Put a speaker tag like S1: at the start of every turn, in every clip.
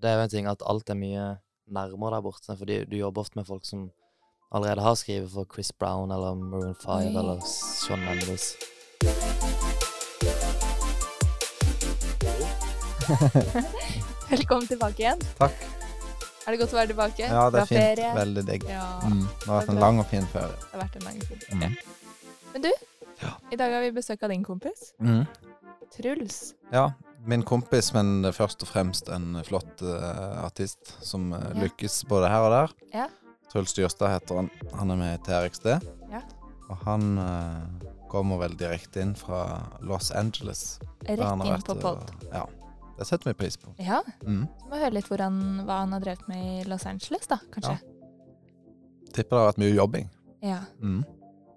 S1: Det er jo en ting at alt er mye nærmere der borte, fordi du jobber ofte med folk som allerede har skrevet for Chris Brown eller Maroon 5
S2: Oi.
S1: eller Shawn Mendes.
S2: Velkommen tilbake igjen.
S3: Takk.
S2: Er det godt å være tilbake?
S3: Ja, det
S2: Fra
S3: er fint.
S2: ferie?
S3: Veldig digg.
S2: Ja,
S3: Mm. Det har vært
S2: Takk.
S3: en lang og fin ferie.
S2: det har vært en lang tid.
S3: Mm.
S2: Men du, i dag har vi besøk av din kompis,
S3: Mm.
S2: Truls.
S3: Ja. Min kompis, men først og fremst en flott eh, artist som eh,
S2: Ja.
S3: lykkes både her og der.
S2: Ja.
S3: Truls Dyrstad heter han. Han er med i TRXD.
S2: Ja.
S3: Og han eh, kommer vel direkte inn fra Los Angeles. der han
S2: Rett
S3: har
S2: inn på
S3: vært, eh,
S2: pod.
S3: og- Ja. Det setter vi pris på.
S2: Ja,
S3: Mm.
S2: så må vi høre litt hvor han, hva han har drevet med i Los Angeles, da, kanskje.
S3: Tipper det har vært mye jobbing.
S2: Ja.
S3: Mm.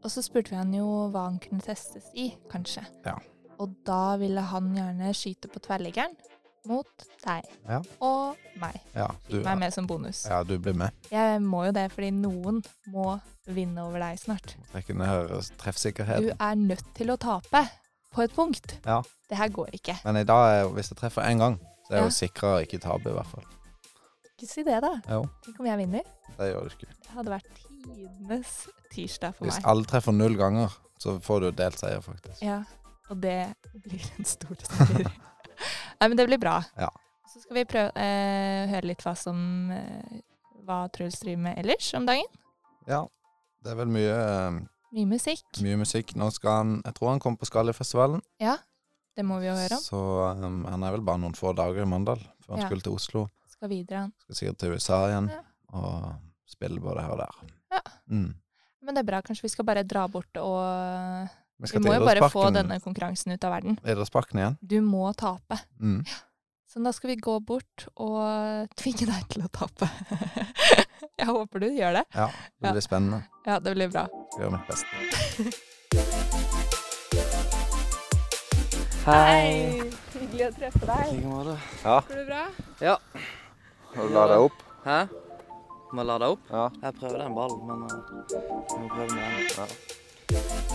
S2: Og så spurte vi han jo hva han kunne testes i, kanskje.
S3: Ja.
S2: Og da ville han gjerne skyte på tverrliggeren mot deg
S3: Ja.
S2: og meg.
S3: Ja, du,
S2: Fikk meg med som bonus.
S3: ja, du blir med.
S2: Jeg må jo det, fordi noen må vinne over deg snart.
S3: Trekker ned
S2: Du
S3: treffsikkerheten.
S2: er nødt til å tape på et punkt.
S3: Ja.
S2: Det her går ikke.
S3: Men i dag, er- hvis jeg treffer én gang, så er jeg
S2: Ja.
S3: jo sikrere å ikke tape, i hvert fall.
S2: Ikke si det, da.
S3: Jo,
S2: Tenk om jeg vinner.
S3: det gjør du ikke.
S2: Det hadde vært tidenes tirsdag for
S3: Hvis
S2: meg.
S3: alle treffer null ganger, så får du delt seier, faktisk.
S2: Ja, og det blir en stor seier. Nei, men det blir bra.
S3: Ja.
S2: Så skal vi prøve eh, høre litt hva som eh, hva Truls driver med ellers om dagen.
S3: Ja. Det er vel mye, eh,
S2: Mye musikk.
S3: mye musikk. Nå skal han Jeg tror han kommer på Skallefestivalen.
S2: Det må vi jo høre om.
S3: Så eh, han er vel bare noen få dager i Mandal før han
S2: Ja.
S3: skulle til Oslo.
S2: Skal videre han.
S3: Skal sikkert til USA igjen
S2: Ja.
S3: og spille både her og der.
S2: Ja.
S3: Mm.
S2: Men det er bra. Kanskje vi skal bare dra bort og Vi
S3: skal
S2: må
S3: til
S2: jo bare få
S3: Idrettsparken-
S2: denne konkurransen ut av verden.
S3: Idrettsparken igjen.
S2: Du må tape.
S3: Mm.
S2: Så da skal vi gå bort og tvinge deg til å tape. Jeg håper du gjør det.
S3: Ja.
S2: Ja.
S3: Det blir spennende.
S2: Ja, det blir bra.
S3: Skal gjøre mitt beste.
S2: Hyggelig å treffe deg.
S1: like måte.
S2: Går det bra?
S1: Har du ladet
S3: opp?
S1: Hæ? Må jeg lade opp?
S3: Ja.
S1: Jeg prøvde en ball, men eh, jeg må prøve med en.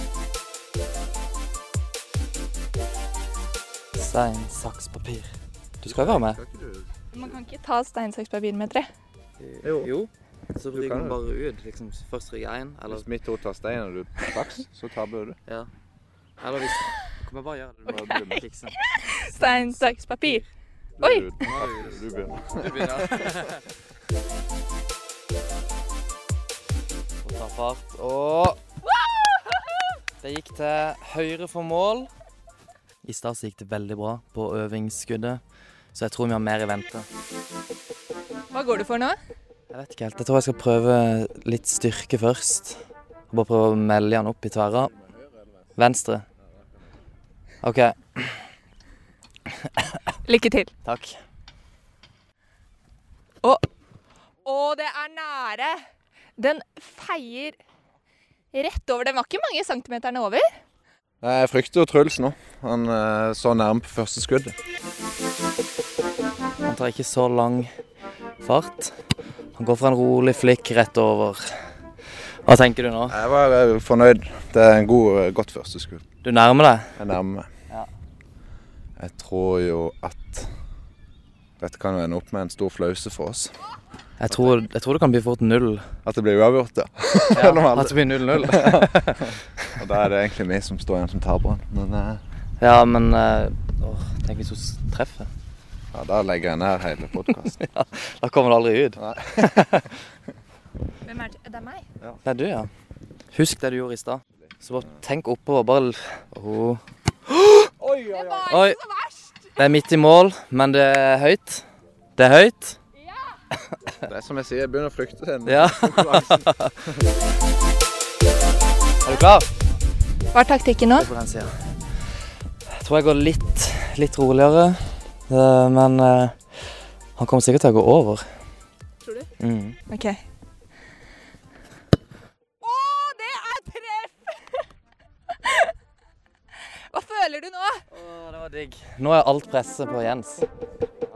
S1: Stein, saks, papir. Du skal jo være med.
S2: Man kan ikke ta stein, saks, papir med tre.
S1: Jo. Så ryker
S3: kan
S1: den
S3: jo.
S1: bare ut. Liksom, først ryker jeg inn, eller,
S3: mitt ord tar stein og du saks, så taper du.
S1: eller hvis Kan vi bare gjøre det? Liksom. Du må fikse den.
S2: Stein, saks, papir. Oi!
S3: Du begynner.
S1: Du begynner. Og ta fart, og Det gikk til høyre for mål. I stad så gikk det veldig bra på øvingsskuddet, så jeg tror vi har mer i vente.
S2: Hva går du for nå?
S1: Jeg vet ikke helt. Jeg tror jeg skal prøve litt styrke først. Og bare prøve å melge han opp i tverra. Venstre. OK.
S2: Lykke til.
S1: Takk.
S2: Å, det er nære. Den feier rett over. Den var ikke mange centimeterne over.
S3: Nei, Jeg frykter jo Truls nå. Han eh, så nærme på første skudd.
S1: Han tar ikke så lang fart. Han går for en rolig flikk rett over. Hva tenker du nå?
S3: Jeg var eh, fornøyd. Det er en god, eh, godt første skudd.
S1: Du nærmer deg.
S3: Jeg nærmer meg.
S1: Ja.
S3: Jeg tror jo at dette kan jo ende opp med en stor flause for oss.
S1: Jeg tror, jeg tror det kan bli fort null.
S3: At det blir uavgjort, ja.
S1: Ja,
S3: Normalt.
S1: at det blir 0-0.
S3: Og da er det egentlig vi som står igjen som taperen. Men eh,
S1: Ja, men eh, åh, Tenk hvis hun s- treffer.
S3: ja, da legger jeg ned hele podkasten.
S1: Da kommer det aldri ut.
S2: Hvem er det? Det er meg.
S1: Det er du, ja. Husk det du gjorde i stad. Så bare tenk oppover. Bare l- Åh.
S2: Det var
S1: Oi.
S2: ikke så verst.
S1: Det er midt i mål, men det er høyt. Det er høyt.
S3: Det er som jeg sier, jeg begynner å frykte den.
S1: Ja. Er du klar?
S2: Hva er taktikken nå?
S1: Det er på den siden. Jeg tror jeg går litt, litt roligere. eh, Men eh, han kommer sikkert til å gå over.
S2: Tror du?
S1: Mm.
S2: Ok. Å, det er treff! Hva føler du nå?
S1: det var digg. Nå er alt presset på Jens.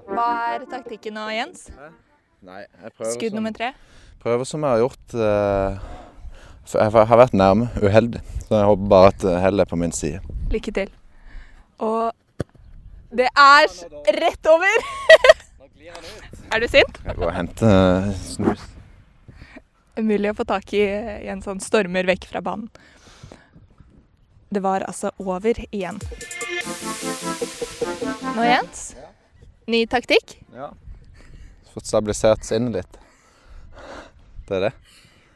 S2: Hva er taktikken nå, Jens?
S3: Nei, jeg prøver
S2: Skudd
S3: som,
S2: nummer tre.
S3: prøver som jeg har gjort. eh, for jeg har vært nærme, uheldig. Så jeg håper bare at eh, hellet er på min side.
S2: Lykke til. Og det er s- rett over!
S1: Nå Glir han ut?
S2: Er du sint?
S3: Jeg går og henter eh, snus.
S2: Umulig å få tak i i en sånn stormer vekk fra banen. Det var altså over igjen. Nå, Jens. Ny taktikk.
S3: Ja. Fått stabilisert sinnet litt. Det er det.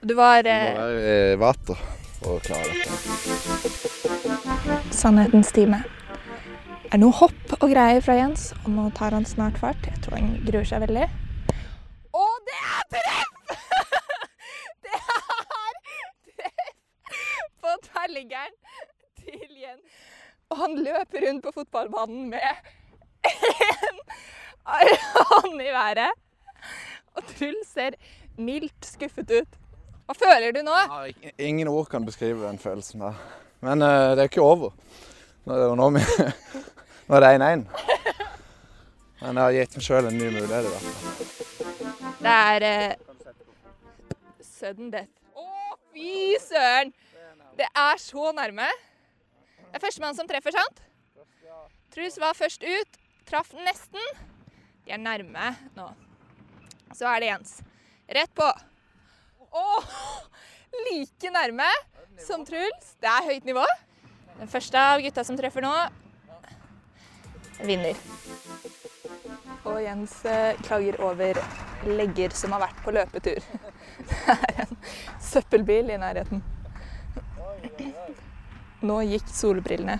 S2: Du var
S3: Du må
S2: eh,
S3: være i vater for å klare dette.
S2: Sannhetens time. Det er noe hopp og greier fra Jens, og nå tar han snart fart. Jeg tror han gruer seg veldig. Og det er treff! Det er treff på tverrliggeren til Jens. Og han løper rundt på fotballbanen med en hånd i været. Og Truls ser mildt skuffet ut. Hva føler du nå?
S3: Ja, ik- Ingen ord kan beskrive den følelsen der. Men eh, det er ikke over. Nå er det, nå vi- nå er det 1-1. Men jeg har gitt meg sjøl en ny mulighet. i hvert fall.
S2: Det er eh, sudden death. Å, fy søren! Det er så nærme. Det er førstemann som treffer, sant? Truls var først ut. Traff nesten. De er nærme nå. Så er det Jens. Rett på. Å! Like nærme som Truls. Det er høyt nivå. Den første av gutta som treffer nå, vinner. Og Jens eh, klager over legger som har vært på løpetur. Det er en søppelbil i nærheten. Nå gikk solbrillene,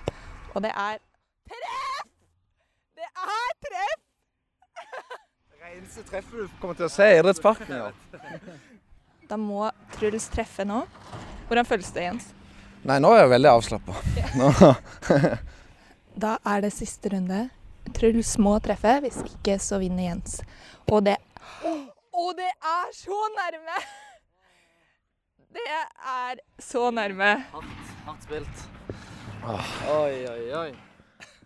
S2: og det er treff! Det er treff!
S3: Eneste treffet du kommer til å se i idrettsparken i år.
S2: Da må Truls treffe nå. Hvordan føles det, Jens?
S3: Nei, nå er jeg veldig avslappa.
S2: Da er det siste runde. Truls må treffe, hvis ikke så vinner Jens. Og det Og det er så nærme! Det er så nærme.
S1: Hardt, hardt spilt. Oi, oi, oi.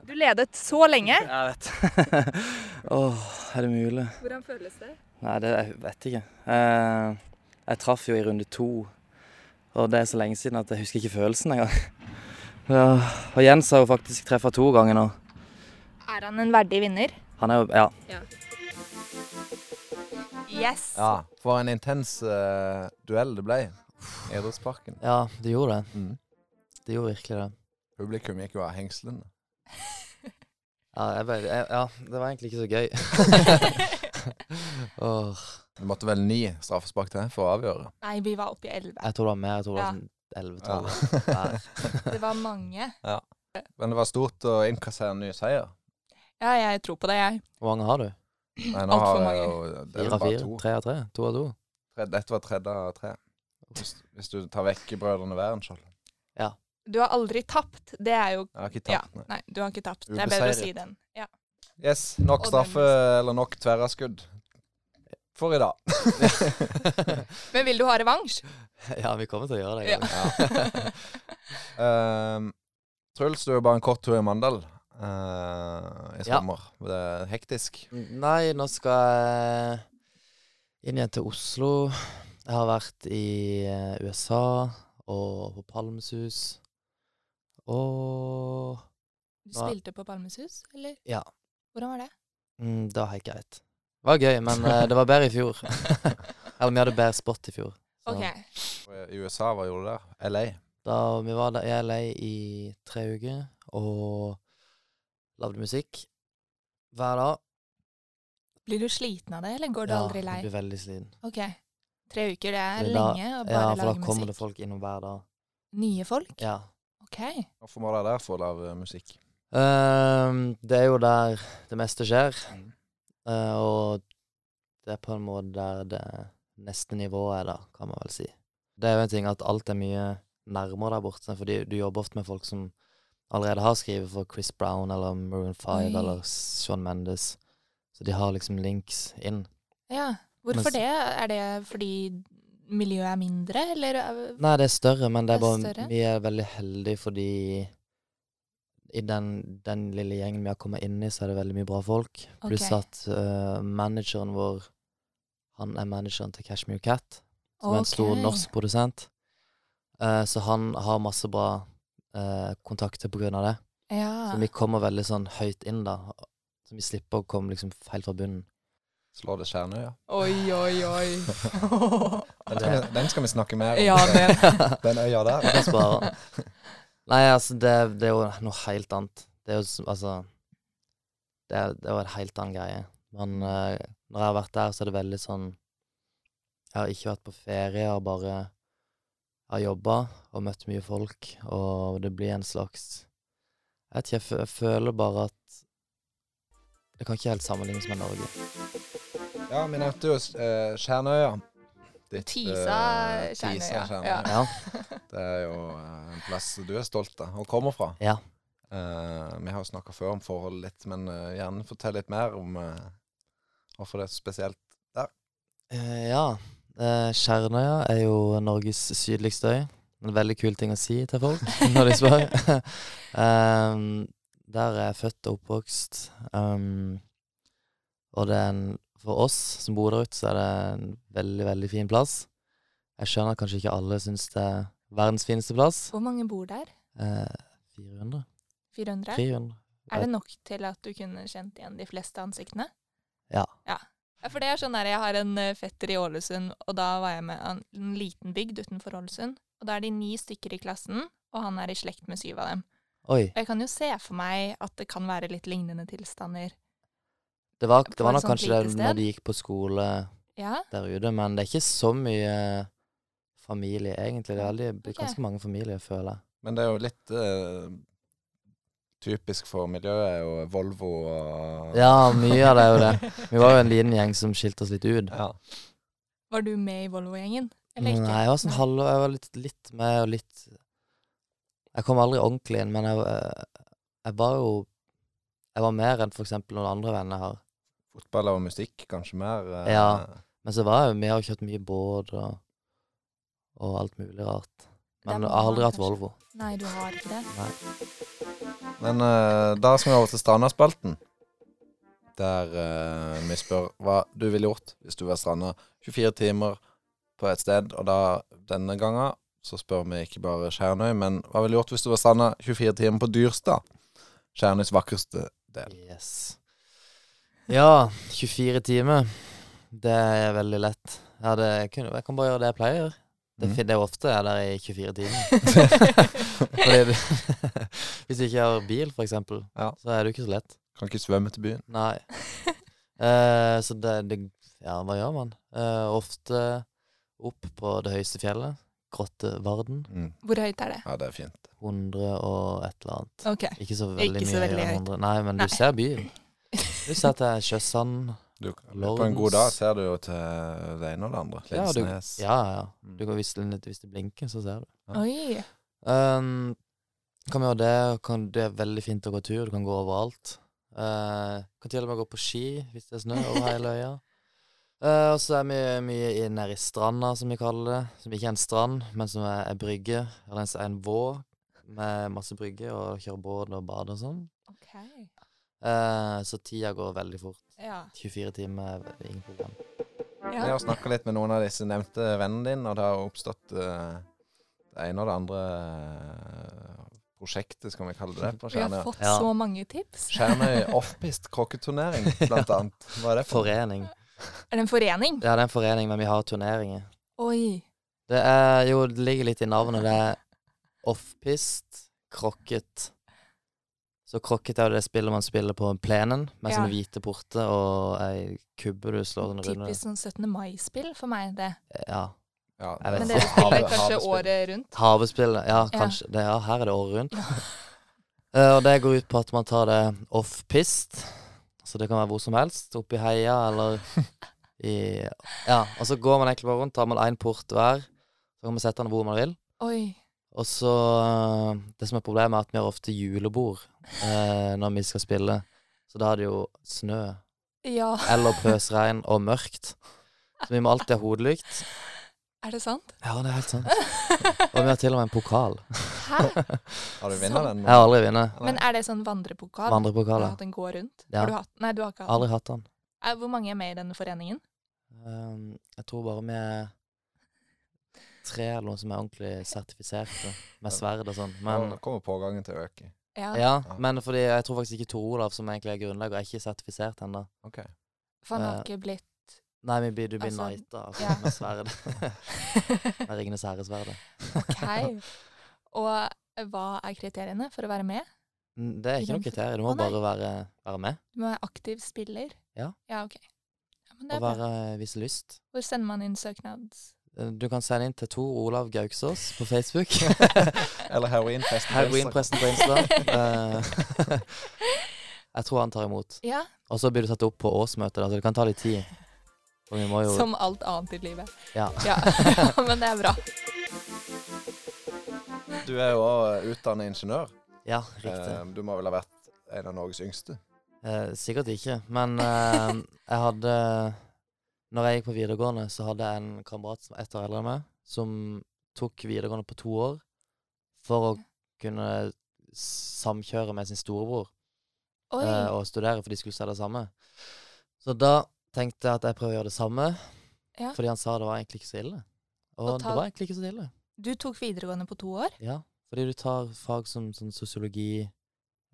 S2: Du ledet så lenge.
S1: Jeg vet. Åh, er det mulig?
S2: Hvordan føles det?
S1: Nei, det jeg vet ikke. Eh, jeg traff jo i runde to, og det er så lenge siden at jeg husker ikke følelsen engang. Ja, og Jens har jo faktisk treffa to ganger nå.
S2: Er han en verdig vinner?
S1: Han er jo Ja.
S2: Yes.
S3: Ja, for en intens eh, duell det ble i idrettsparken.
S1: Ja, det gjorde det.
S3: Mm.
S1: Det gjorde virkelig det.
S3: Publikum gikk jo av hengslene.
S1: Ja, det var egentlig ikke så gøy.
S3: Det måtte vel ni straffespark til for å avgjøre.
S2: Nei, vi var oppe i elleve.
S1: jeg tror det var mer. Jeg tror
S2: det var Ja.
S1: sånn
S3: Ja.
S2: Det var mange.
S3: Men det var stort å innkassere en ny seier.
S2: Ja, jeg tror på det, jeg.
S1: Hvor mange har du?
S3: Nei, nå
S2: Alt for
S3: har jeg jo det er vel bare to.
S1: Tre av tre? To av to?
S3: Tre- Dette var tredje av tre. Hvis, hvis du tar vekk Brødrene Værenskiold.
S2: Du har aldri tapt. Det er jo
S3: Jeg har ikke
S2: Ja.
S3: tapt, nei.
S2: Nei, du har ikke tapt. Det er bedre å si den. Ja.
S3: Yes, nok
S2: Og
S3: straffe eller nok tverraskudd for i dag.
S2: Men vil du ha revansj?
S1: Ja, vi kommer til å gjøre det.
S2: Ja.
S3: Ehm, Truls, du er jo bare en kort tur i Mandal eh, i
S1: Ja.
S3: sommer. Det er hektisk.
S1: Nei, nå skal jeg inn igjen til Oslo. Jeg har vært i eh, USA og på Palmesus. Og
S2: Du
S1: Nei.
S2: spilte på Palmesus, eller?
S1: Ja.
S2: Hvordan var det?
S1: mm, da har jeg ikke rett. Det var gøy, men eh, det var bedre i fjor. Eller vi hadde bedre spot i fjor. Så
S2: Ok.
S3: I USA, hva gjorde du der? LA?
S1: da, vi var der i LA i tre uker og lagde musikk hver dag.
S2: Blir du sliten av det, eller går du aldri lei?
S1: jeg blir veldig sliten.
S2: Ok. Tre uker, det er
S1: Men da-
S2: lenge å bare
S1: Ja, for da
S2: lage
S1: kommer
S2: musikk.
S1: det folk innom hver dag.
S2: Nye folk?
S1: Ja.
S2: Ok.
S3: Hvorfor var dere der for å lage musikk?
S1: Ehm, det er jo der det meste skjer. Eh, og det er på en måte der det neste nivået er, da, kan man vel si. Det er jo en ting at alt er mye nærmere der borte, fordi du jobber ofte med folk som allerede har skrevet for Chris Brown eller Maroon 5
S2: Oi.
S1: eller Sean Mendes. Så de har liksom links inn.
S2: Ja. Hvorfor
S1: Men s-
S2: det? Er det fordi miljøet er mindre, eller? er-
S1: Nei, det er større, men det er
S2: Det er
S1: bare,
S2: større?
S1: vi er veldig heldige fordi i den, den lille gjengen vi har kommet inn i, så er det veldig mye bra folk. Pluss
S2: Ok.
S1: at eh, manageren vår, han er manageren til Cashmere Cat, som er en stor
S2: Ok.
S1: norsk produsent. Eh, så han har masse bra eh, kontakter på grunn av det.
S2: Ja. Ah.
S1: Så vi kommer veldig sånn høyt inn da, så vi slipper å komme liksom helt fra bunnen.
S4: Slår det Skjernøya?
S2: Oi, oi, oi.
S3: Den skal, vi, den skal vi snakke mer om,
S2: ja,
S3: den,
S2: det
S3: den øya der.
S1: Jeg sparer. Nei, altså, det, det er jo noe helt annet. Det er jo s- altså Det er, det er jo en helt annen greie. Men eh, når jeg har vært der, så er det veldig sånn Jeg har ikke vært på ferie, jeg har bare jeg har jobba og møtt mye folk, og det blir en slags Jeg vet ikke, jeg, fø- jeg føler bare at Det kan ikke helt sammenlignes med Norge.
S3: Ja, vi nevnte jo eh, Skjernøya. Ditt,
S2: Tisa
S3: eh,
S2: Skjernøya,
S3: Tisa Skjernøya.
S2: ja.
S1: Ja.
S3: Det er jo eh, en plass du er stolt av og kommer fra.
S1: Ja.
S3: Eh, vi har jo snakka før om forholdet litt, men eh, gjerne fortell litt mer om eh, hvorfor det er så spesielt.
S1: Eh, ja. Eh, Skjernøya er jo Norges sydligste øy. En veldig kul ting å si til folk når de spør. Em, der er jeg født og oppvokst. Em, og det er en, for oss som bor der ute, så er det en veldig, veldig fin plass. Jeg skjønner at kanskje ikke alle syns det er verdens fineste plass.
S2: Hvor mange bor der?
S1: Eh, 400?
S2: 400?
S1: 300?
S2: Er det nok til at du kunne kjent igjen de fleste ansiktene?
S1: Ja.
S2: ja. Ja, For det er sånn der, jeg har en eh, fetter i Ålesund, og da var jeg med an- en liten bygd utenfor Ålesund. Og da er de ni stykker i klassen, og han er i slekt med syv av dem.
S1: Oi.
S2: Og jeg kan jo se for meg at det kan være litt lignende tilstander.
S1: Det var, det
S2: På
S1: var
S2: et
S1: nok
S2: sånt lite
S1: kanskje det
S2: sted?
S1: når de gikk på skole
S2: Ja,
S1: der ute, men det er ikke så mye familie, egentlig. Det er veldig, det er
S2: Ok.
S1: ganske mange familier, føler jeg.
S3: Men det er jo litt eh, typisk for miljøet er jo Volvo og
S1: Ja, mye av det er jo det. Vi var jo en liten gjeng som skilte oss litt ut.
S3: Ja.
S2: Var du med i Volvo-gjengen?
S1: Nei,
S2: Eller ikke?
S1: jeg var sånn
S2: Nei.
S1: halv, jeg var litt, litt med og litt Jeg kom aldri ordentlig inn, men jeg, eh, jeg var jo Jeg var mer enn f.eks. noen andre venner her.
S3: Fotball og musikk kanskje mer. eh,
S1: Ja. Men så var jeg jo med og kjørt mye båt og, og alt mulig rart. Men
S2: Det
S1: jeg
S2: er
S1: har
S2: mange,
S1: aldri hatt
S2: kanskje.
S1: Volvo.
S2: Nei, du har ikke det.
S1: Nei.
S3: Men eh, da skal vi over til Stranda-spalten. Der eh, vi spør hva du ville gjort hvis du var stranda 24 timer på et sted. Og da denne gangen så spør vi ikke bare Skjernøy, men hva ville du gjort hvis du var stranda 24 timer på Dyrstad? Skjernøys vakreste del.
S1: Yes. Ja, 24 timer. Det er veldig lett. Ja, det, jeg, kunne, jeg kan bare gjøre det jeg pleier.
S2: Mm.
S1: Det,
S3: Mm.
S1: fin- det er jo ofte jeg er der i 24 timer. Fordi det, hvis du ikke har bil, for eksempel,
S3: Ja.
S1: så er det jo ikke så lett.
S3: Kan ikke svømme til byen.
S1: Nei. Eh, så det, det Ja, hva gjør man? Eh, ofte opp på det høyeste fjellet. Grottevarden.
S3: Mm.
S2: Hvor høyt er det?
S3: Ja, det er fint.
S1: 100 og et eller annet.
S2: Ok.
S1: Ikke så veldig
S2: Ikke
S1: mye
S2: så veldig
S1: høyere enn
S2: høyt.
S1: 100. Nei, men
S2: Nei.
S1: du ser byen. Du ser at det er sjøsand.
S3: Du, på en
S1: Lordens.
S3: god dag ser du jo til det ene og det andre.
S1: Ja, du-
S3: Lindesnes.
S1: Ja, ja, ja.
S3: Mm.
S1: Du kan hvis, den- hvis det blinker, så ser du.
S2: Oi.
S1: Um, kan vi gjøre det? Kan, det er veldig fint å gå tur. Du kan gå overalt. Uh, kan til og med gå på ski hvis det er snø over hele øya. Eh, og så er vi mye i- nede i stranda, som vi kaller det. Som ikke er en strand, men som er en brygge. Eller en, s- en vå med masse brygger, og kjøre båt og bade og sånn.
S2: Ok.
S1: Eh, så tida går veldig fort.
S2: Ja.
S1: 24 timer, er ingen problem.
S3: Jeg
S2: ja.
S3: har snakka litt med noen av disse nevnte vennene dine, og det har oppstått eh, det ene og det andre eh, prosjektet, skal vi kalle det, på
S2: Vi har
S3: Skjernøy.
S2: fått
S1: Ja.
S2: så mange tips.
S3: Skjernøy offpist krokketurnering, blant annet. Hva er det for?
S1: Forening.
S2: Er det en forening?
S1: Ja, det er en forening, men vi har turneringer.
S2: Oi.
S1: Det er jo, det ligger litt i navnet. Det er offpist, krokket. Så krokket er jo det spillet man spiller på plenen, med
S2: Ja.
S1: sånne hvite porter og ei kubbe du slår sånn runde.
S2: Typisk sånn 17. mai-spill for meg, det.
S1: Ja.
S3: Ja,
S1: Jeg vet
S2: Men
S1: ikke.
S2: dere spiller
S3: Havet-
S2: kanskje
S3: havespill.
S2: året rundt?
S1: Havespillet. Ja,
S2: Ja.
S1: kanskje. Det, ja, her er det året rundt. Eh, og det går ut på at man tar det off-pist, så det kan være hvor som helst. Oppi heia eller i Ja, og så går man egentlig bare rundt, tar man én port hver, så kan man sette den hvor man vil.
S2: Oi.
S1: Og så eh, Det som er problemet, er at vi har ofte julebord eh, når vi skal spille. Så da er det jo snø
S2: Ja,
S1: eller pøsregn og mørkt. Så vi må alltid ha hodelykt.
S2: er det sant?
S1: Ja, det er helt sant. Og vi har til og med en pokal.
S2: Hæ?
S3: Har du vunnet den?
S1: Jeg har aldri vunnet.
S2: Men er det sånn vandrepokal? Har du
S1: Vandrepokal. ja.
S2: hatt den gå rundt?
S1: Ja.
S2: Har du hatt? Nei, du har ikke hatt den.
S1: Aldri hatt den.
S2: Eh, Hvor mange er med i denne foreningen?
S1: Ehm, jeg tror bare vi er tre eller noen som er ordentlig sertifiserte med sverd og sånn. Men,
S3: Nå kommer pågangen til å øke.
S2: Ja.
S1: ja, men fordi jeg tror faktisk ikke Tor Olav, som egentlig er grunnlegger, er ikke sertifisert ennå.
S3: Ok.
S2: For han har
S1: Eh,
S2: ikke blitt
S1: Nei, vi blir, du blir
S2: Altså,
S1: knighta altså,
S2: ja.
S1: med sverd. med Ringenes herre-sverdet.
S2: OK. Og eh, hva er kriteriene for å være med?
S1: N- Det er ikke noe kriterium. Du må
S2: Å, nei.
S1: bare være, være med
S2: Du må være aktiv spiller.
S1: Ja.
S2: Ja, OK. Ja, men det
S1: og
S2: er bra.
S1: være, eh, vise lyst.
S2: Hvor sender man inn søknad?
S1: Eh, Du kan sende inn til Tor Olav Gauksås på Facebook.
S3: Eller heroinfest.
S1: Heroinpresten på Insta. Eh, Jeg tror han tar imot.
S2: Ja,
S1: Og så blir du tatt opp på årsmøtet, da, så det kan ta litt tid. For vi må jo
S2: som alt annet i livet.
S1: Ja.
S2: Ja, men det er bra.
S3: Du er jo òg utdannet ingeniør.
S1: Ja, riktig.
S3: Eh, Du må vel ha vært en av Norges yngste.
S1: Eh, sikkert ikke, men eh, jeg hadde Når jeg gikk på videregående, så hadde jeg en kamerat som var ett år eldre enn meg, som tok videregående på to år for å kunne samkjøre med sin storebror
S2: Oi.
S1: eh, og studere, for de skulle se det samme. Så da tenkte jeg at jeg prøver å gjøre det samme,
S2: Ja.
S1: fordi han sa det var egentlig ikke så ille. Og,
S2: Og ta-
S1: det var egentlig ikke så ille.
S2: Du tok videregående på to år.
S1: Ja, fordi du tar fag som sånn sosiologi,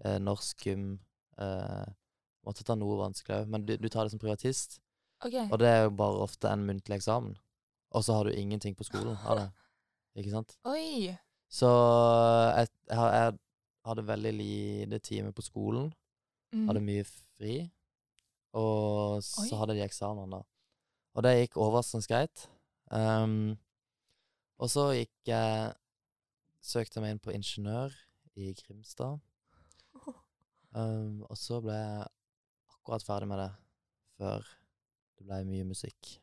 S1: eh, norsk gym eh, Måtte ta noe vanskelig òg, men du, du tar det som privatist.
S2: Ok.
S1: Og det er jo bare ofte en muntlig eksamen. Og så har du ingenting på skolen av det. Ikke sant?
S2: Oi.
S1: Så eh, jeg, jeg, har- jeg hadde veldig lite time på skolen. Hadde
S2: Mm.
S1: mye fri. Og så
S2: Oi.
S1: hadde de eksamen, da. Og det gikk overraskende greit. Ehm, og så gikk jeg Søkte jeg meg inn på ingeniør i Grimstad. Ehm, og så ble jeg akkurat ferdig med det før det ble mye musikk.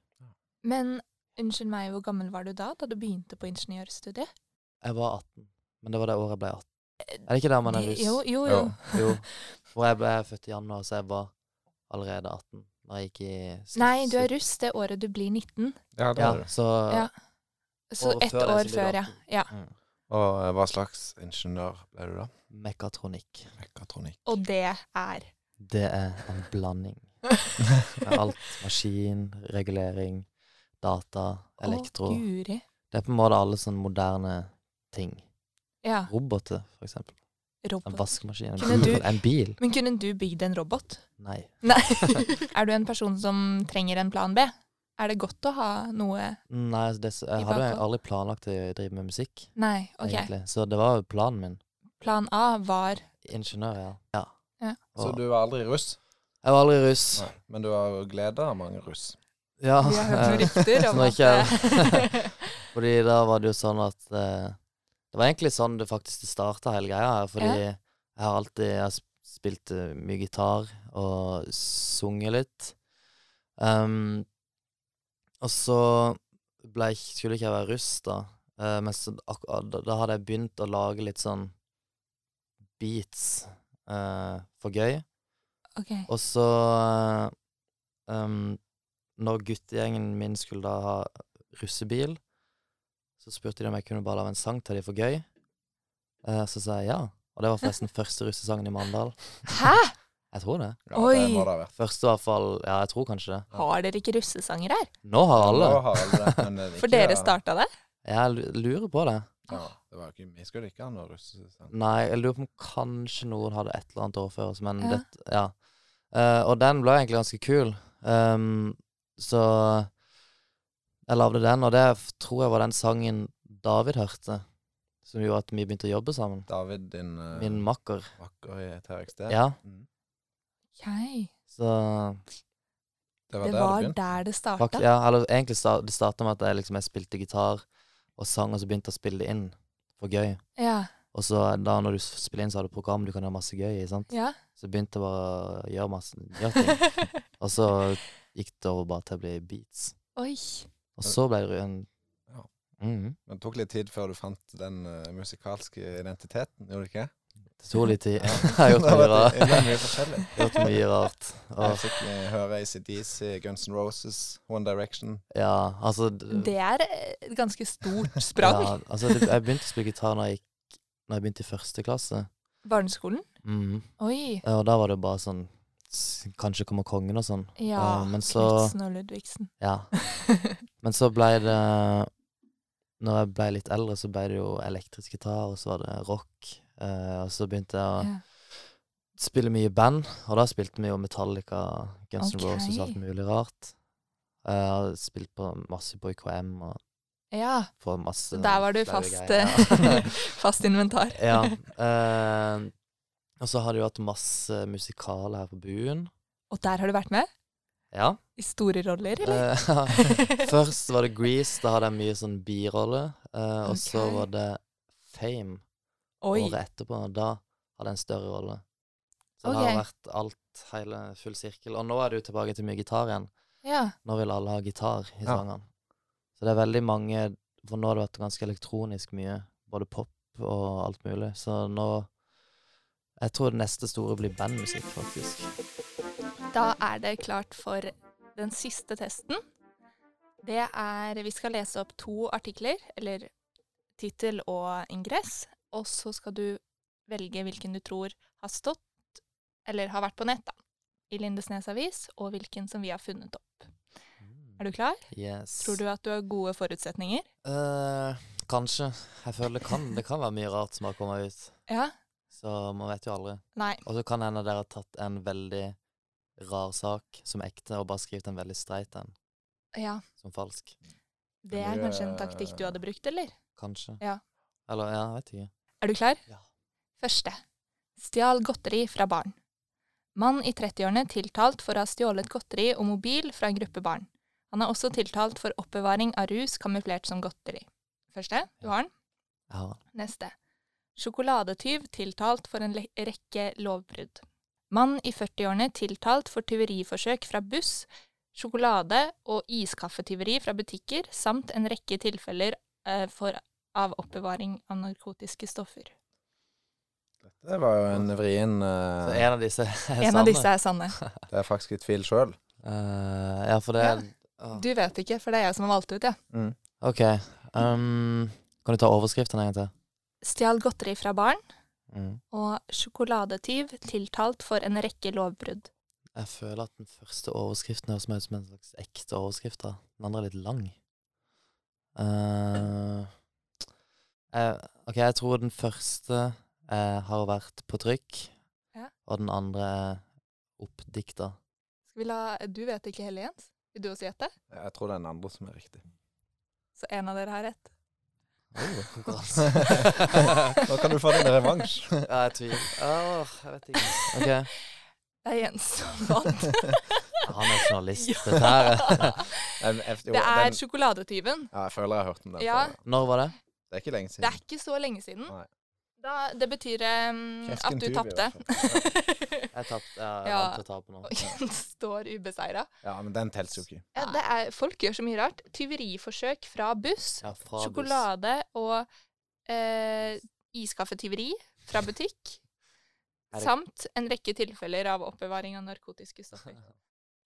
S2: Men unnskyld meg, hvor gammel var du da, da du begynte på ingeniørstudiet?
S1: Jeg var 18, men det var det året jeg ble 18. Er det ikke der man er
S2: Eh, Det-
S1: russ?
S2: Jo, jo, jo.
S1: jo. Hvor jeg ble født i januar, så jeg var allerede 18 da jeg gikk i
S2: Nei, du er russ det året du blir 19.
S3: Ja,
S1: Ja, så
S2: Ja. Så
S1: Året
S2: ett
S1: før det,
S2: år
S1: så blir du
S2: før, ja.
S1: 18.
S2: ja.
S1: Mm.
S3: Og eh, hva slags ingeniør ble du da?
S1: Mekatronikk.
S3: Mekatronikk.
S2: Og det er
S1: Det er en blanding. Med alt maskin, regulering, data, elektro.
S2: Å, guri.
S1: det er på en måte alle sånne moderne ting.
S2: Ja.
S1: Roboter, for eksempel. En
S2: Robot.
S1: vaskemaskin, en
S2: Kunne
S1: bil.
S2: du-
S1: En bil.
S2: Men kunne du bygd en robot?
S1: Nei.
S2: Nei. er du en person som trenger en plan B? Er det godt å ha noe
S1: Nei, altså, det, s- jeg
S2: I
S1: hadde jo
S2: bakhånd.
S1: aldri planlagt å drive med musikk,
S2: Nei, OK.
S1: egentlig. Så det var jo planen min.
S2: Plan A var
S1: Ingeniør, ja. ja.
S2: Ja.
S3: Så
S1: Og-
S3: du var aldri russ?
S1: Jeg var aldri russ.
S3: Nei. Men du har jo glede av mange russ.
S1: Ja.
S2: Vi har hørt rykter
S1: Som
S2: om at
S1: ikke-
S2: eh, det-
S1: Fordi da var det jo sånn at eh, Det var egentlig sånn det faktisk starta hele greia her. Fordi jeg har alltid jeg har sp- spilt eh, mye gitar og sunget litt. Ehm, og så ble jeg, ikke- skulle ikke jeg være russ, da. Eh, men så, ak da, da hadde jeg begynt å lage litt sånn beats eh, for gøy.
S2: OK.
S1: Og så eh, um, Når guttegjengen min skulle da ha russebil, så spurte de om jeg kunne bare lage en sang til de for gøy. Eh, så sa jeg ja. Og det var forresten første russesangen i Mandal.
S2: Hæ?
S1: Jeg tror det.
S3: Ja,
S2: Oi.
S3: Det må det ha vært.
S1: Første i hvert fall. Ja, jeg tror kanskje det.
S2: Har dere ikke russesanger her?
S1: Nå har alle.
S3: Nå har alle det, men det er
S2: For
S3: ikke-
S2: dere starta det?
S1: Jeg lu- lurer på det.
S3: Ja, det var ikke, vi skulle ikke ha noe russesang.
S1: Nei, jeg lurer på om kanskje noen hadde et eller annet år før oss, men
S2: Ja.
S1: dette Ja. Eh, og den ble egentlig ganske kul. Ehm, så jeg lagde den, og det f- tror jeg var den sangen David hørte, som gjorde at vi begynte å jobbe sammen.
S3: David, din eh,
S1: Min makker.
S3: makker i TRXD.
S1: Ja.
S3: Mm.
S2: Okay.
S1: Så
S3: Det var
S2: Det
S3: der det
S2: var
S3: begynte.
S2: der det
S1: fakt,
S2: starta.
S1: ja, eller egentlig sta- det starta med at jeg liksom jeg spilte gitar og sang, og så begynte jeg å spille det inn for gøy.
S2: Ja.
S1: Og så da når du s- spiller inn, så har du program du kan gjøre masse gøy i, sant.
S2: ja.
S1: Så begynte jeg bare å gjøre masse gjøre ting. Og så gikk det over bare til å bli beats.
S2: Oi.
S1: Og så ble det en
S3: Ja.
S1: Mhm.
S3: Men det tok litt tid før du fant den eh, musikalske identiteten, gjorde det ikke?
S1: Det tok litt tid. Jeg har gjort mye
S3: Det har vært-
S1: rart.
S3: det er mye forskjellig.
S1: Gjort mye rart.
S3: Jeg
S1: Og,
S3: fikk eh, høre ACDC, Guns N' Roses, One Direction.
S1: ja, altså d-
S2: Det er et ganske stort sprang.
S1: Ja, altså, det- jeg begynte å spille gitar når jeg, gikk, når jeg begynte i første klasse.
S2: Barneskolen?
S1: Mhm.
S2: Oi.
S1: Og da var det bare sånn s- Kanskje kommer kongen og sånn.
S2: Ja.
S1: Eh, men så
S2: Knutsen og Ludvigsen.
S1: Ja. Men så ble det Når jeg ble litt eldre, så ble det jo elektrisk gitar, og så var det rock. eh, og så begynte jeg å
S2: Ja.
S1: spiller mye i band, og da spilte vi jo Metallica, Guns N'
S2: Ok.
S1: Roses og alt mulig rart. Eh, Jeg har spilt på masse på IKM og
S2: Ja,
S1: på masse
S2: så der var du
S1: flere
S2: fast, eh.
S1: greier.
S2: fast inventar.
S1: ja. eh, og så har de jo hatt masse musikaler her på buen.
S2: Og der har du vært med?
S1: Ja.
S2: I store roller, eller?
S1: Eh, Først var det Grease, da hadde jeg mye sånn birolle. eh, Og så
S2: Ok.
S1: var det Fame
S2: Oi.
S1: året etterpå. og Da hadde jeg en større rolle. Så det har
S2: Ok.
S1: vært alt, hele full sirkel. Og nå er det jo tilbake til mye gitar igjen.
S2: Ja.
S1: Nå vil alle ha gitar i
S3: Ja.
S1: sangene. Så det er veldig mange For nå har det vært ganske elektronisk mye. Både pop og alt mulig. Så nå Jeg tror det neste store blir bandmusikk, faktisk.
S2: Da er det klart for den siste testen. Det er Vi skal lese opp to artikler, eller tittel og ingress. Og så skal du velge hvilken du tror har stått, eller har vært på nett, da. I Lindesnes avis, og hvilken som vi har funnet opp. Er du klar?
S1: Yes.
S2: Tror du at du har gode forutsetninger?
S1: Eh, kanskje. Jeg føler det kan, det kan være mye rart som har kommet ut.
S2: Ja?
S1: Så man vet jo aldri.
S2: Nei.
S1: Og så kan det hende dere har tatt en veldig rar sak som ekte, og bare skrevet en veldig streit en
S2: Ja.
S1: som falsk.
S2: Det er kanskje en taktikk du hadde brukt, eller?
S1: Kanskje.
S2: Ja.
S1: Eller ja, jeg vet ikke.
S2: Er du klar?
S1: Ja.
S2: Første. Stjal godteri fra barn. Mann i 30-årene tiltalt for å ha stjålet godteri og mobil fra en gruppe barn. Han er også tiltalt for oppbevaring av rus kamuflert som godteri. Første. Du har den.
S1: Jeg har den.
S2: Neste. Sjokoladetyv tiltalt for en le- rekke lovbrudd. Mann i 40-årene tiltalt for tyveriforsøk fra buss, sjokolade- og iskaffetyveri fra butikker, samt en rekke tilfeller eh, for, av oppbevaring av narkotiske stoffer.
S3: Det var jo en vrien eh,
S1: Så en av disse er sanne.
S2: En av disse er sanne.
S3: Det er faktisk i tvil sjøl.
S1: Eh, ja, for det
S2: Ja.
S1: Ah,
S2: Du vet ikke, for det er jeg som har valgt ut, ja.
S1: OK. Um, kan du ta overskriften en gang til?
S2: Stjal godteri fra barn
S1: Mm.
S2: og sjokoladetyv tiltalt for en rekke lovbrudd.
S1: Jeg føler at den første overskriften høres meg ut som en slags ekte overskrift. da. Den andre er litt lang. Eh, jeg, ok, jeg tror den første eh, har vært på trykk,
S2: Ja.
S1: og den andre er oppdikta.
S2: Skal vi la Du vet ikke heller, Jens. Vil du også gjette?
S3: Jeg tror det er den andre som er riktig.
S2: Så en av dere har rett.
S1: Oh,
S3: Nå kan du få din revansj.
S1: ja, jeg tviler. Åh, jeg vet ikke. Ok,
S2: Det er Jens som vant.
S1: Han er journalist. Dette her er
S3: Jeg, jeg, jo,
S2: Det er
S3: den,
S2: sjokoladetyven.
S3: ja, jeg føler jeg har hørt om den.
S2: Ja.
S3: før.
S1: Når var det?
S3: Det er ikke lenge siden.
S2: Det er ikke så lenge siden.
S3: Nei.
S2: Da, det betyr em,
S3: Kesken
S2: at du
S3: tur, i
S2: tapte.
S3: hvert
S1: Jeg tapte. Jeg er
S2: Ja.
S1: vant til å tape nå.
S2: Og Jens står ubeseira.
S3: Ja, men den teller jo ikke.
S2: Ja, det er, folk gjør så mye rart. Tyveriforsøk fra buss.
S1: Ja, fra buss.
S2: Sjokolade og eh, iskaffetyveri fra butikk.
S1: Er det-
S2: Samt en rekke tilfeller av oppbevaring av narkotiske stoffer.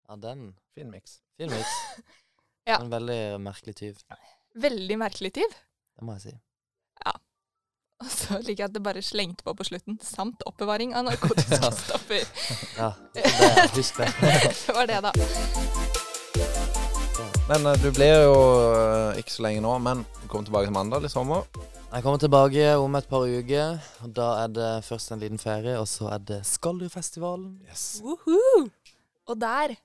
S1: Ja, den.
S3: Fin miks.
S1: Fin miks.
S2: Ja.
S1: En veldig merkelig tyv.
S2: Veldig merkelig tyv.
S1: Det må jeg si.
S2: Og så liker jeg at det bare slengte på på slutten. Samt oppbevaring av narkotiske stoffer.
S1: Ja, det, husk det.
S2: det var det, da.
S3: Men eh, du blir jo eh, ikke så lenge nå, men du kommer tilbake til mandag i sommer.
S1: Jeg kommer tilbake om et par uker. og Da er det først en liten ferie, og så er det Skalldyrfestivalen.
S2: Woohoo! Og der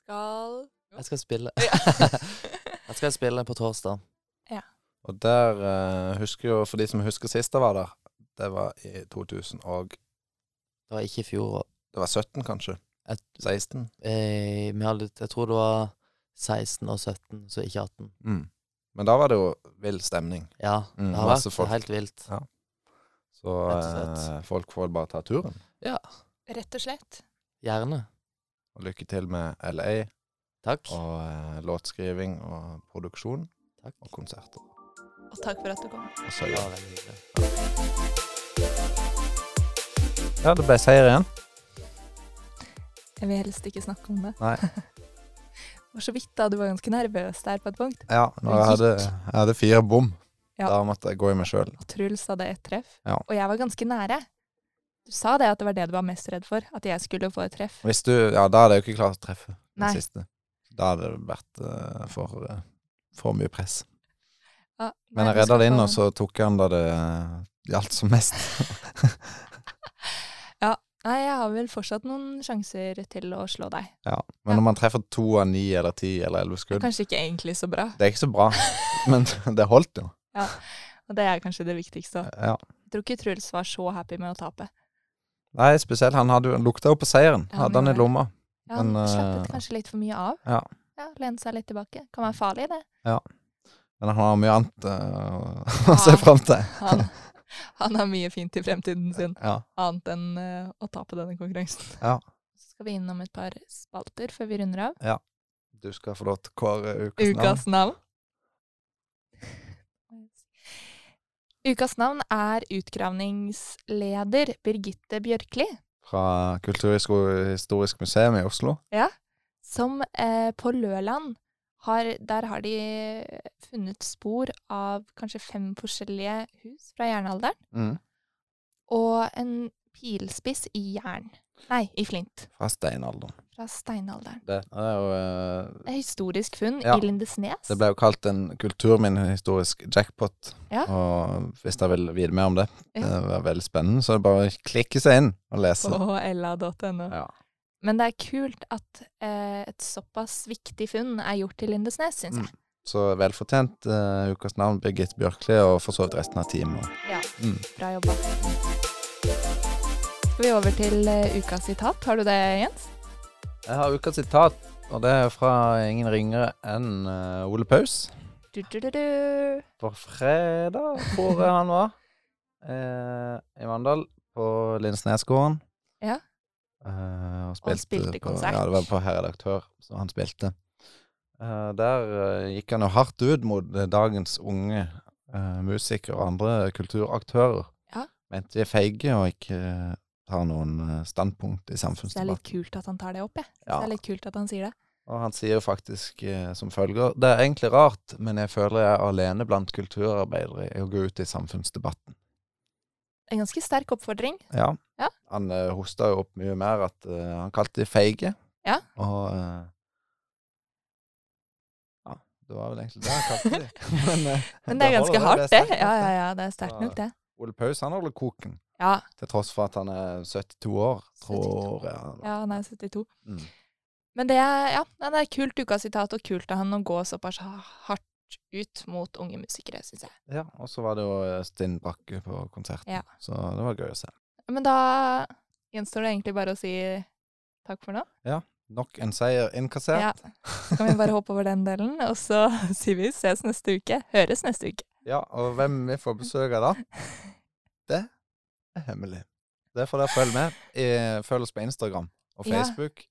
S2: skal
S1: Jeg skal spille. jeg skal spille på torsdag.
S3: Og der eh, husker jo, for de som husker sist jeg var der, det var i 2000 og
S1: Det var ikke i fjor. og-
S3: Det var 17, kanskje?
S1: Jeg,
S3: 16?
S1: eh, vi hadde, jeg tror det var 16 og 17, så ikke 18.
S3: Mm. Men da var det jo vill stemning.
S1: Ja,
S3: Mm,
S1: det har
S3: masse
S1: vært
S3: folk.
S1: helt vilt.
S3: Så
S1: Rett og slett.
S3: eh, folk får bare ta turen.
S2: Rett og slett.
S1: Gjerne.
S3: Og lykke til med LA
S1: Takk.
S3: og eh, låtskriving og produksjon
S1: Takk.
S3: og konserter.
S2: Og takk for at du kom.
S3: Og
S1: Det
S3: seier.
S1: var veldig hyggelig.
S3: Ja, det ble seier igjen.
S2: Jeg vil helst ikke snakke om det.
S3: Nei.
S2: Det var så vidt, da. Du var ganske nervøs der på et punkt.
S3: Ja, når jeg hadde, jeg hadde fire bom.
S2: Ja.
S3: Da måtte jeg gå i meg sjøl.
S2: Og Truls hadde ett treff.
S3: Ja.
S2: Og jeg var ganske nære. Du sa det at det var det du var mest redd for, at jeg skulle få et treff.
S3: Hvis du Ja, da hadde jeg jo ikke klart å treffe den
S2: Nei.
S3: siste. Da hadde det vært eh, for, eh, for mye press.
S2: Ja,
S3: Men
S2: Ah, nei,
S3: jeg
S2: du
S3: redda
S2: skal
S3: det inn, altså.
S2: få-
S3: og eh, så tok jeg den da det gjaldt som mest.
S2: Nei, jeg har vel fortsatt noen sjanser til å slå deg.
S3: Ja. Men når man treffer to av ni eller ti eller elleve
S2: Det er
S3: skudd,
S2: kanskje ikke egentlig så bra,
S3: det er ikke så bra. Men det holdt jo.
S2: og det er kanskje det viktigste òg.
S3: Ja.
S2: Jeg tror ikke Truls var så happy med å tape.
S3: Nei, spesielt han hadde, jo- lukta jo på seieren.
S2: Ja, han
S3: Hadde han i
S2: gjorde det.
S3: lomma.
S2: Ja, han
S3: Men, eh,
S2: slappet kanskje litt for mye av.
S3: ja.
S2: ja Lene seg litt tilbake. Kan være farlig, det.
S3: Men han har mye annet eh,
S2: Ja.
S3: å se fram til.
S2: Han, han har mye fint i fremtiden sin,
S3: Ja.
S2: annet enn eh, å tape denne konkurransen.
S3: Ja.
S2: Så skal vi innom et par spalter før vi runder av.
S3: Du skal få lov til å kåre ukas navn.
S2: Ukas navn. Ukas navn er utgravningsleder Birgitte Bjørkli,
S3: Fra Kulturhistorisk museum i Oslo.
S2: som eh, på Løland har, der har de eh, funnet spor av kanskje fem forskjellige hus fra jernalderen,
S3: Mm.
S2: og en pilspiss i jern. Nei, i flint.
S3: Fra steinalderen.
S2: Fra steinalderen.
S3: Det, det er jo eh,
S2: Det er historisk funn
S3: Ja.
S2: i Lindesnes.
S3: Det ble jo kalt en kulturminnehistorisk jackpot.
S2: Ja.
S3: Og hvis dere vil vite mer om det,
S2: Ja.
S3: det var veldig spennende, så er det bare å klikke seg inn og lese.
S2: på ella.no.
S3: Ja.
S2: Men det er kult at eh, et såpass viktig funn er gjort til Lindesnes, syns jeg.
S3: Så velfortjent eh, ukas navn Birgitte Bjørkli, og for så vidt resten av teamet.
S2: Ja,
S3: Mm.
S2: Bra jobba. Skal vi over til eh, ukas sitat. Har du det, Jens?
S3: Jeg har ukas sitat, og det er fra ingen ringere enn eh, Ole Paus.
S2: Du, du, du, du.
S3: På fredag, tror jeg han var, eh, i Mandal, på Lindesnesgården.
S2: Ja.
S3: Eh, og, spilte
S2: spilte
S3: på,
S2: konsert.
S3: Ja, det var på Herr redaktør, så han spilte. Eh, der eh, gikk han jo hardt ut mot eh, dagens unge eh, musikere og andre kulturaktører.
S2: Ja.
S3: Mente de er feige og ikke eh, tar noen eh, standpunkt i
S2: Synes Det er litt
S3: samfunnsdebatten.
S2: kult at han tar det opp, jeg. Synes
S3: Ja.
S2: Det er litt kult at han sier det.
S3: Og han sier jo faktisk eh, som følger Det er egentlig rart, men jeg føler jeg er alene blant kulturarbeidere i å gå ut i samfunnsdebatten.
S2: En ganske sterk oppfordring.
S3: Ja.
S2: Ja.
S3: Han eh, hosta jo opp mye mer at eh, han kalte de feige.
S2: Ja.
S3: Og eh, Ja, det var vel egentlig det han kalte de. men, eh,
S2: Men det er ganske
S3: holder,
S2: hardt, det.
S3: sterkt nok,
S2: Ja, ja, ja, det er sterkt nok, det.
S3: Ole Paus han holder koken,
S2: Ja,
S3: til tross for at han er 72 år,
S2: 72.
S3: tror jeg. han var.
S2: ja han er 72.
S3: Mm.
S2: Men det er, ja, nei, det er kult ukas sitat, og kult av han å gå såpass ha- hardt ut mot unge musikere, syns jeg.
S3: Ja, og så var det jo eh, Stinn Brakke på konserten,
S2: Ja.
S3: så det var gøy å se.
S2: Men da gjenstår det egentlig bare å si takk for nå.
S3: Nok en seier innkassert.
S2: Ja. Så kan vi bare hoppe over den delen, og så sier vi ses neste uke. Høres neste uke.
S3: Ja, og hvem vi får besøk av da? Det er hemmelig. Det får dere følge med. Eh, Følg oss på Instagram og
S2: Ja.
S3: Facebook.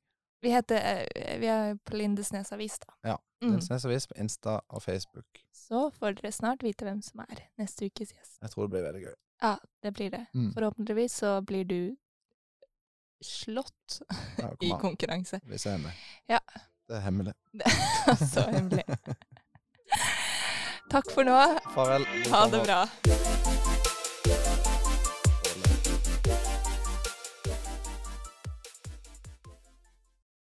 S2: Vi heter eh, Vi er på Lindesnes Avis, da.
S3: Ja,
S2: Mm.
S3: Lindesnes Avis på Insta og Facebook.
S2: Så får dere snart vite hvem som er neste ukes gjest.
S3: Jeg tror det blir veldig gøy.
S2: Ja, det blir det.
S3: Mm.
S2: Forhåpentligvis så blir du slått
S3: Ja, kom
S2: i
S3: an.
S2: konkurranse.
S3: Vi ser med.
S2: Ja.
S3: Det er hemmelig.
S2: så hemmelig. Takk for nå.
S3: Farvel. God
S2: Ha
S3: sommer.
S2: det bra.